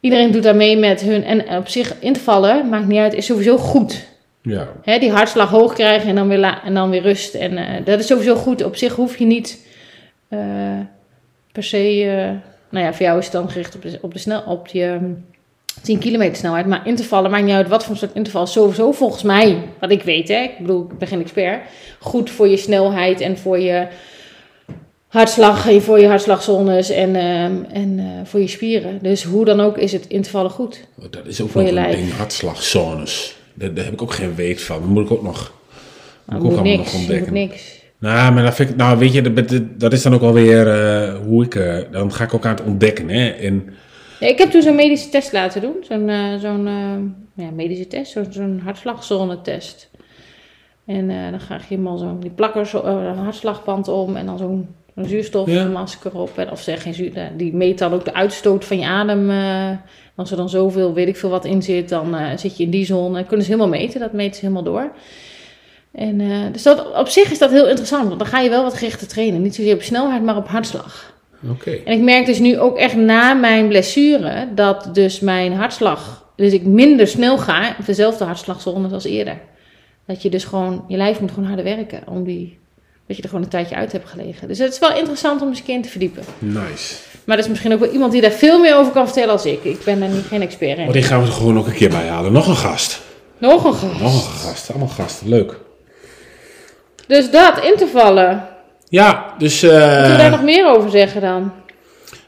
[SPEAKER 2] Iedereen doet daar mee met hun. En op zich, intervallen, maakt niet uit, is sowieso goed.
[SPEAKER 1] ja.
[SPEAKER 2] Hè, die hartslag hoog krijgen en dan weer, la- en dan weer rust. En eh, dat is sowieso goed. Op zich hoef je niet eh, per se. eh, nou ja, voor jou is het dan gericht op de, op de snel, op je ehm, 10 kilometer snelheid. Maar intervallen maakt niet uit wat voor soort interval. is Sowieso volgens mij, wat ik weet, hè, ik bedoel, ik ben geen expert. Goed voor je snelheid en voor je hartslag en voor je hartslagzones en, ehm, en eh, voor je spieren. Dus hoe dan ook is het intervallen goed.
[SPEAKER 1] Oh, Dat is ook
[SPEAKER 2] Voor
[SPEAKER 1] nog
[SPEAKER 2] je
[SPEAKER 1] een
[SPEAKER 2] lijf.
[SPEAKER 1] ding. Hartslagzones. Daar, daar heb ik ook geen weet van. Dat moet ik ook nog, moet ik
[SPEAKER 2] Maar
[SPEAKER 1] ook
[SPEAKER 2] moet
[SPEAKER 1] allemaal nog
[SPEAKER 2] niks, je moet
[SPEAKER 1] ontdekken.
[SPEAKER 2] niks.
[SPEAKER 1] Nou, maar dat vind ik, nou weet je, dat, dat- dat is dan ook alweer eh hoe ik, eh, dan ga ik ook aan het ontdekken. Hè? En,
[SPEAKER 2] Ja, ik heb toen zo'n medische test laten doen. Zo'n eh, zo'n eh, ja, medische test, zo'n zo'n hartslagzone-test. En eh, dan krijg je helemaal zo'n die plakkers, eh, een hartslagband om en dan zo'n zo'n zuurstofmasker op. En, of zeg, geen zuur, eh, die meet dan ook de uitstoot van je adem. eh. En als er dan zoveel, weet ik veel wat in zit, dan eh, zit je in die zone. En kunnen ze helemaal meten, dat meten ze helemaal door. En, eh, dus dat, op zich is dat heel interessant, want dan ga je wel wat gerichter trainen. Niet zozeer op snelheid, maar op hartslag.
[SPEAKER 1] Oké.
[SPEAKER 2] En ik merk dus nu ook echt na mijn blessure dat dus mijn hartslag, dus ik minder snel ga op dezelfde hartslagzone als eerder. Dat je dus gewoon, je lijf moet gewoon harder werken om die, dat je er gewoon een tijdje uit hebt gelegen. Dus het is wel interessant om eens een keer in te verdiepen.
[SPEAKER 1] Nice.
[SPEAKER 2] Maar dat is misschien ook wel iemand die daar veel meer over kan vertellen als ik. Ik ben daar niet geen expert
[SPEAKER 1] Maar
[SPEAKER 2] in.
[SPEAKER 1] Oh, die gaan we er gewoon ook een keer bij halen. Nog een gast.
[SPEAKER 2] Nog een gast.
[SPEAKER 1] Nog een gast. Allemaal gasten. Leuk.
[SPEAKER 2] Dus dat, intervallen.
[SPEAKER 1] Ja, dus... eh,
[SPEAKER 2] Kun je daar nog meer over zeggen dan?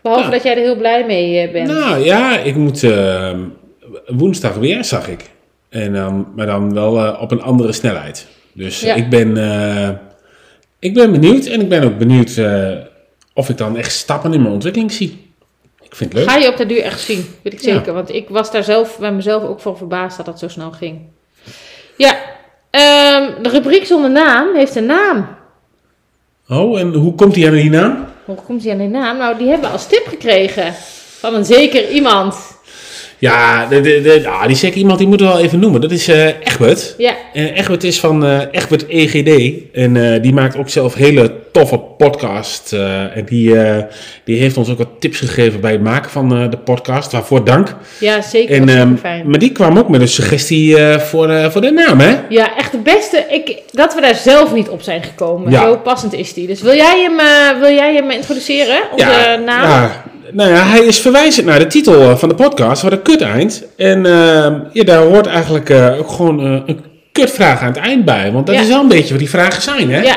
[SPEAKER 2] Behalve
[SPEAKER 1] Nou.
[SPEAKER 2] dat jij er heel blij mee eh, bent.
[SPEAKER 1] Nou ja, ik moet eh, woensdag weer, zag ik. En dan, maar dan wel eh, op een andere snelheid. Dus
[SPEAKER 2] Ja.
[SPEAKER 1] ik, ben, eh, ik ben benieuwd. En ik ben ook benieuwd eh, of ik dan echt stappen in mijn ontwikkeling zie. Ik vind het leuk.
[SPEAKER 2] Ga je op de duur echt zien, weet ik
[SPEAKER 1] Ja.
[SPEAKER 2] zeker. Want ik was daar zelf bij mezelf ook van verbaasd dat dat zo snel ging. Ja, ehm, de rubriek zonder naam heeft een naam.
[SPEAKER 1] Oh, en hoe komt hij aan die naam?
[SPEAKER 2] Hoe komt die aan die naam? Nou, die hebben we als tip gekregen van een zeker iemand.
[SPEAKER 1] Ja, de, de, de, ah, die zeker iemand die moeten we wel even noemen. Dat is eh Egbert.
[SPEAKER 2] Ja,
[SPEAKER 1] En Egbert is van eh Egbert EGD. En eh, die maakt ook zelf hele toffe podcast. eh, en die, eh, die heeft ons ook wat tips gegeven bij het maken van eh, de podcast. Waarvoor dank.
[SPEAKER 2] ja zeker.
[SPEAKER 1] En,
[SPEAKER 2] super
[SPEAKER 1] ehm,
[SPEAKER 2] fijn.
[SPEAKER 1] maar die kwam ook met een suggestie eh, voor, eh, voor de naam, hè?
[SPEAKER 2] Ja, echt de beste. Ik, dat we daar zelf niet op zijn gekomen.
[SPEAKER 1] Ja.
[SPEAKER 2] Zo passend is die. Dus wil jij hem, eh, wil jij hem introduceren? Onze naam?
[SPEAKER 1] ja. Nou ja, hij is verwijzend naar de titel eh, van de podcast, wat een kut eind. En ehm, ja, daar hoort eigenlijk eh, ook gewoon eh, een kutvraag aan het eind bij. Want dat
[SPEAKER 2] Ja.
[SPEAKER 1] is wel een beetje wat die vragen zijn, hè?
[SPEAKER 2] ja,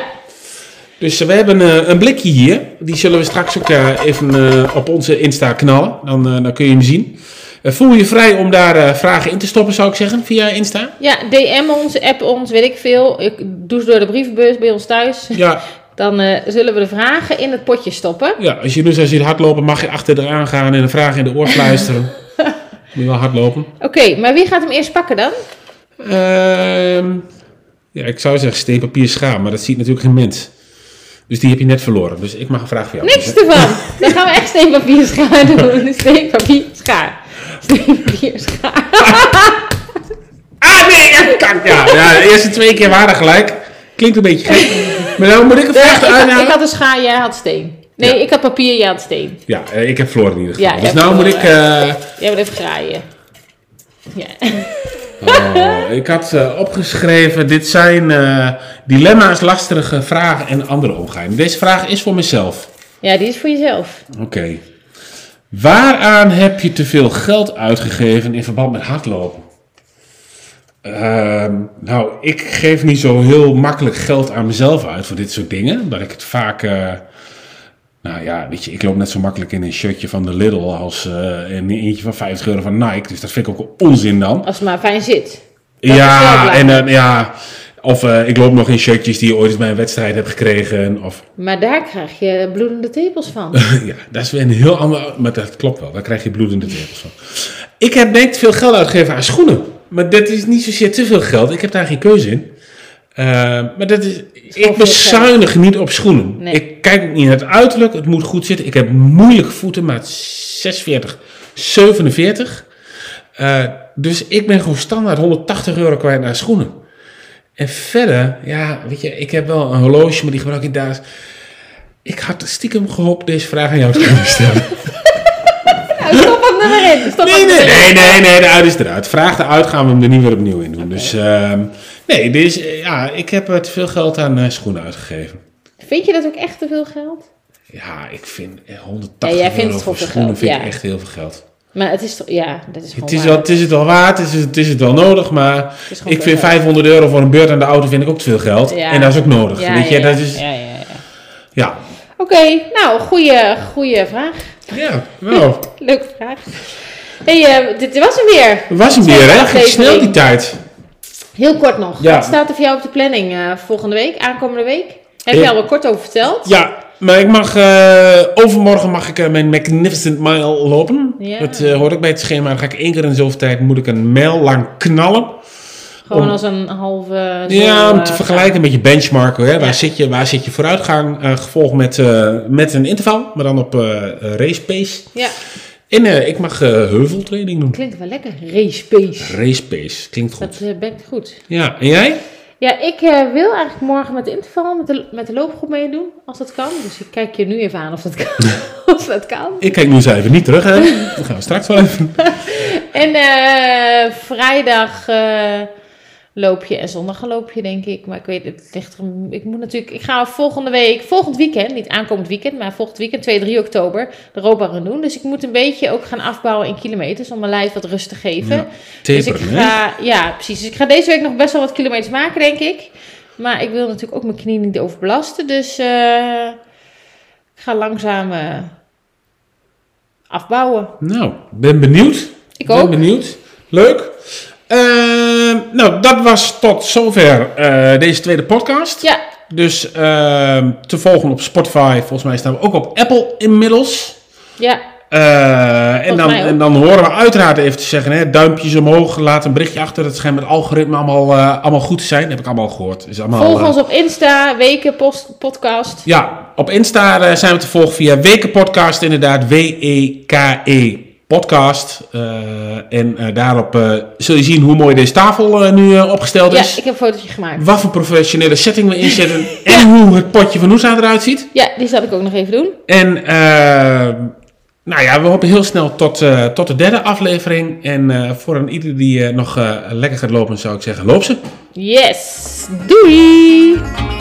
[SPEAKER 1] Dus eh, we hebben eh, een blikje hier. Die zullen we straks ook eh, even eh, op onze Insta knallen. Dan, eh, dan kun je hem zien. Eh, voel je vrij om daar eh, vragen in te stoppen, zou ik zeggen, via Insta.
[SPEAKER 2] ja, DM ons, app ons, weet ik veel. Ik doe ze door de brievenbus bij ons thuis.
[SPEAKER 1] Ja,
[SPEAKER 2] Dan eh, zullen we de vragen in het potje stoppen.
[SPEAKER 1] ja als je nu zo ziet hardlopen, mag je achter eraan gaan en een vraag in de oor fluisteren. Moet je wel hardlopen.
[SPEAKER 2] Oké, maar wie gaat hem eerst pakken dan?
[SPEAKER 1] Ehm, Ja, ik zou zeggen steen, papier, schaam, maar dat ziet natuurlijk geen mens. Dus die heb je net verloren. Dus ik mag een vraag voor jou.
[SPEAKER 2] Niks ervan. Dan gaan we echt steenpapier schaar doen. Steenpapier schaar. Steenpapier schaar.
[SPEAKER 1] Ah nee, echt kak. Ja, ja, de eerste twee keer waren gelijk. Klinkt een beetje gek. Maar nou moet ik het vraag
[SPEAKER 2] Ik had, ik
[SPEAKER 1] aanhalen.
[SPEAKER 2] had een schaar, jij had steen. Nee, ik had papier, jij had steen.
[SPEAKER 1] Ja, eh, ik heb verloren in ieder geval.
[SPEAKER 2] Ja,
[SPEAKER 1] dus
[SPEAKER 2] ik
[SPEAKER 1] nou
[SPEAKER 2] heb
[SPEAKER 1] moet ik... eh,
[SPEAKER 2] Jij wil even graaien. Ja.
[SPEAKER 1] Oh, ik had eh, opgeschreven, dit zijn eh, dilemma's, lastige vragen en andere omgeving. Deze vraag is voor mezelf.
[SPEAKER 2] ja, die is voor jezelf.
[SPEAKER 1] Oké. Waaraan heb je te veel geld uitgegeven in verband met hardlopen? Ehm, nou, ik geef niet zo heel makkelijk geld aan mezelf uit voor dit soort dingen. Omdat ik het vaak... eh, nou ja, weet je, ik loop net zo makkelijk in een shirtje van de Lidl als eh, in een eentje van 50 euro van Nike. Dus dat vind ik ook onzin dan.
[SPEAKER 2] Als het maar fijn zit. Dat is wel
[SPEAKER 1] Ja, en
[SPEAKER 2] belangrijk.
[SPEAKER 1] eh, ja. Of eh, ik loop nog in shirtjes die je ooit eens bij een wedstrijd hebt gekregen. Of,
[SPEAKER 2] Maar daar krijg je bloedende tepels van.
[SPEAKER 1] ja, dat is weer een heel ander. Maar dat klopt wel, daar krijg je bloedende tepels van. Ik heb denk ik te veel geld uitgegeven aan schoenen. Maar dat is niet zozeer te veel geld. Ik heb daar geen keuze in. Eh, maar dat is.
[SPEAKER 2] veel
[SPEAKER 1] Ik bezuinig niet op schoenen.
[SPEAKER 2] Nee.
[SPEAKER 1] Ik kijk ook niet naar het uiterlijk. Het moet goed zitten. Ik heb moeilijke voeten, maat 46, 47. Eh, dus ik ben gewoon standaard 180 euro kwijt naar schoenen. En verder, ja, weet je, ik heb wel een horloge, maar die gebruik ik daar. Ik had stiekem gehoopt deze vraag aan jou te kunnen stellen.
[SPEAKER 2] Nou, stop hem er maar in. Stop
[SPEAKER 1] Nee,
[SPEAKER 2] hem
[SPEAKER 1] nee,
[SPEAKER 2] er maar in.
[SPEAKER 1] nee, nee, nee, de uit is eruit. Vraag eruit, gaan we hem er niet weer opnieuw in doen. Dus ehm, nee, dus, eh, ja, ik heb eh, te veel geld aan eh, schoenen uitgegeven.
[SPEAKER 2] Vind je dat ook echt te veel geld?
[SPEAKER 1] Ja, ik vind eh, 180
[SPEAKER 2] Ja, jij vindt
[SPEAKER 1] euro voor
[SPEAKER 2] het voor veel
[SPEAKER 1] schoenen
[SPEAKER 2] geld,
[SPEAKER 1] vind
[SPEAKER 2] ja.
[SPEAKER 1] ik echt heel veel geld.
[SPEAKER 2] Maar het is toch... Ja, dat is gewoon
[SPEAKER 1] Het is,
[SPEAKER 2] waar.
[SPEAKER 1] wel, het is het wel waard, het is, het is het wel nodig, maar
[SPEAKER 2] Het is gewoon
[SPEAKER 1] ik vind
[SPEAKER 2] veel geld.
[SPEAKER 1] 500 euro voor een beurt aan de auto vind ik ook te veel geld.
[SPEAKER 2] Ja.
[SPEAKER 1] En dat is ook nodig,
[SPEAKER 2] Ja,
[SPEAKER 1] weet je.
[SPEAKER 2] ja, ja,
[SPEAKER 1] dat is, ja.
[SPEAKER 2] ja, ja, ja. Oké, nou, goede, goede vraag.
[SPEAKER 1] Ja, wel.
[SPEAKER 2] Leuke vraag. hey, eh, dit was hem weer.
[SPEAKER 1] Het was hem
[SPEAKER 2] Tweede
[SPEAKER 1] weer, hè. Ging
[SPEAKER 2] aflevering.
[SPEAKER 1] snel die tijd.
[SPEAKER 2] Heel kort nog.
[SPEAKER 1] Ja.
[SPEAKER 2] Wat staat er voor jou op de planning eh, volgende week, aankomende week? Heb
[SPEAKER 1] Eh,
[SPEAKER 2] je al wel kort over verteld?
[SPEAKER 1] Ja, maar ik mag, eh, overmorgen mag ik eh, mijn Magnificent Mile lopen.
[SPEAKER 2] Ja.
[SPEAKER 1] Dat eh, hoort ook bij het schema. Dan ga ik één keer in de zoveel tijd moet ik een mijl lang knallen.
[SPEAKER 2] Gewoon
[SPEAKER 1] om-
[SPEAKER 2] als een halve...
[SPEAKER 1] Oh. ja,
[SPEAKER 2] zon,
[SPEAKER 1] om
[SPEAKER 2] eh,
[SPEAKER 1] te vergelijken met je benchmarken. Hè? Waar,
[SPEAKER 2] Ja.
[SPEAKER 1] zit je, waar zit je vooruitgang? eh, gevolgd met, eh, met een interval, maar dan op eh, eh, race pace.
[SPEAKER 2] Ja,
[SPEAKER 1] En eh, ik mag eh, heuveltraining doen.
[SPEAKER 2] klinkt wel lekker. Race pace.
[SPEAKER 1] Race pace, klinkt goed.
[SPEAKER 2] Dat eh, bekt goed.
[SPEAKER 1] Ja, en jij?
[SPEAKER 2] Ja, ik eh, wil eigenlijk morgen met de interval, met de, met de loopgroep meedoen, als dat kan. Dus ik kijk je nu even aan of dat kan. of dat kan.
[SPEAKER 1] Ik kijk nu eens even niet terug, hè? Dat gaan we straks wel even doen.
[SPEAKER 2] En eh, vrijdag eh, loop je en zondag loop je, denk ik. Maar ik weet, het ligt er. Ik moet natuurlijk. Ik ga volgende week, volgend weekend, niet aankomend weekend, maar volgend weekend, 2, 3 oktober, de Roba gaan doen. Dus ik moet een beetje ook gaan afbouwen in kilometers om mijn lijf wat rust te geven.
[SPEAKER 1] Ja,
[SPEAKER 2] dus ik
[SPEAKER 1] Taperen, hè?
[SPEAKER 2] ga, ja, precies. Dus ik ga deze week nog best wel wat kilometers maken, denk ik. Maar ik wil natuurlijk ook mijn knie niet overbelasten. Dus eh, ik ga langzaam eh, afbouwen.
[SPEAKER 1] Nou, ben benieuwd.
[SPEAKER 2] Ik ook.
[SPEAKER 1] Ben benieuwd. Leuk. Ehm, nou, dat was tot zover eh, deze tweede podcast.
[SPEAKER 2] Ja,
[SPEAKER 1] Dus ehm, te volgen op Spotify. Volgens mij staan we ook op Apple inmiddels.
[SPEAKER 2] ja.
[SPEAKER 1] Eh, en,
[SPEAKER 2] Volgens
[SPEAKER 1] dan,
[SPEAKER 2] mij ook.
[SPEAKER 1] en dan horen we uiteraard even te zeggen: hè, duimpjes omhoog, laat een berichtje achter. Dat schijnt met algoritme allemaal, eh, allemaal goed te zijn. Heb ik allemaal gehoord. Is allemaal,
[SPEAKER 2] Volg
[SPEAKER 1] eh,
[SPEAKER 2] ons op Insta, Weken post, Podcast.
[SPEAKER 1] Ja, op Insta eh, zijn we te volgen via Wekenpodcast, inderdaad. W-E-K-E E Podcast. Eh, en eh, daarop eh, zul je zien hoe mooi deze tafel eh, nu eh, opgesteld
[SPEAKER 2] Ja,
[SPEAKER 1] is.
[SPEAKER 2] ik heb een fotootje gemaakt.
[SPEAKER 1] Wat voor professionele setting we inzetten. En hoe het potje van Noesa eruit ziet.
[SPEAKER 2] Ja, die zal ik ook nog even doen.
[SPEAKER 1] En eh, nou ja, we hopen heel snel tot, eh, tot de derde aflevering. En eh, voor een ieder die eh, nog eh, lekker gaat lopen, zou ik zeggen, loop ze.
[SPEAKER 2] Yes! Doei!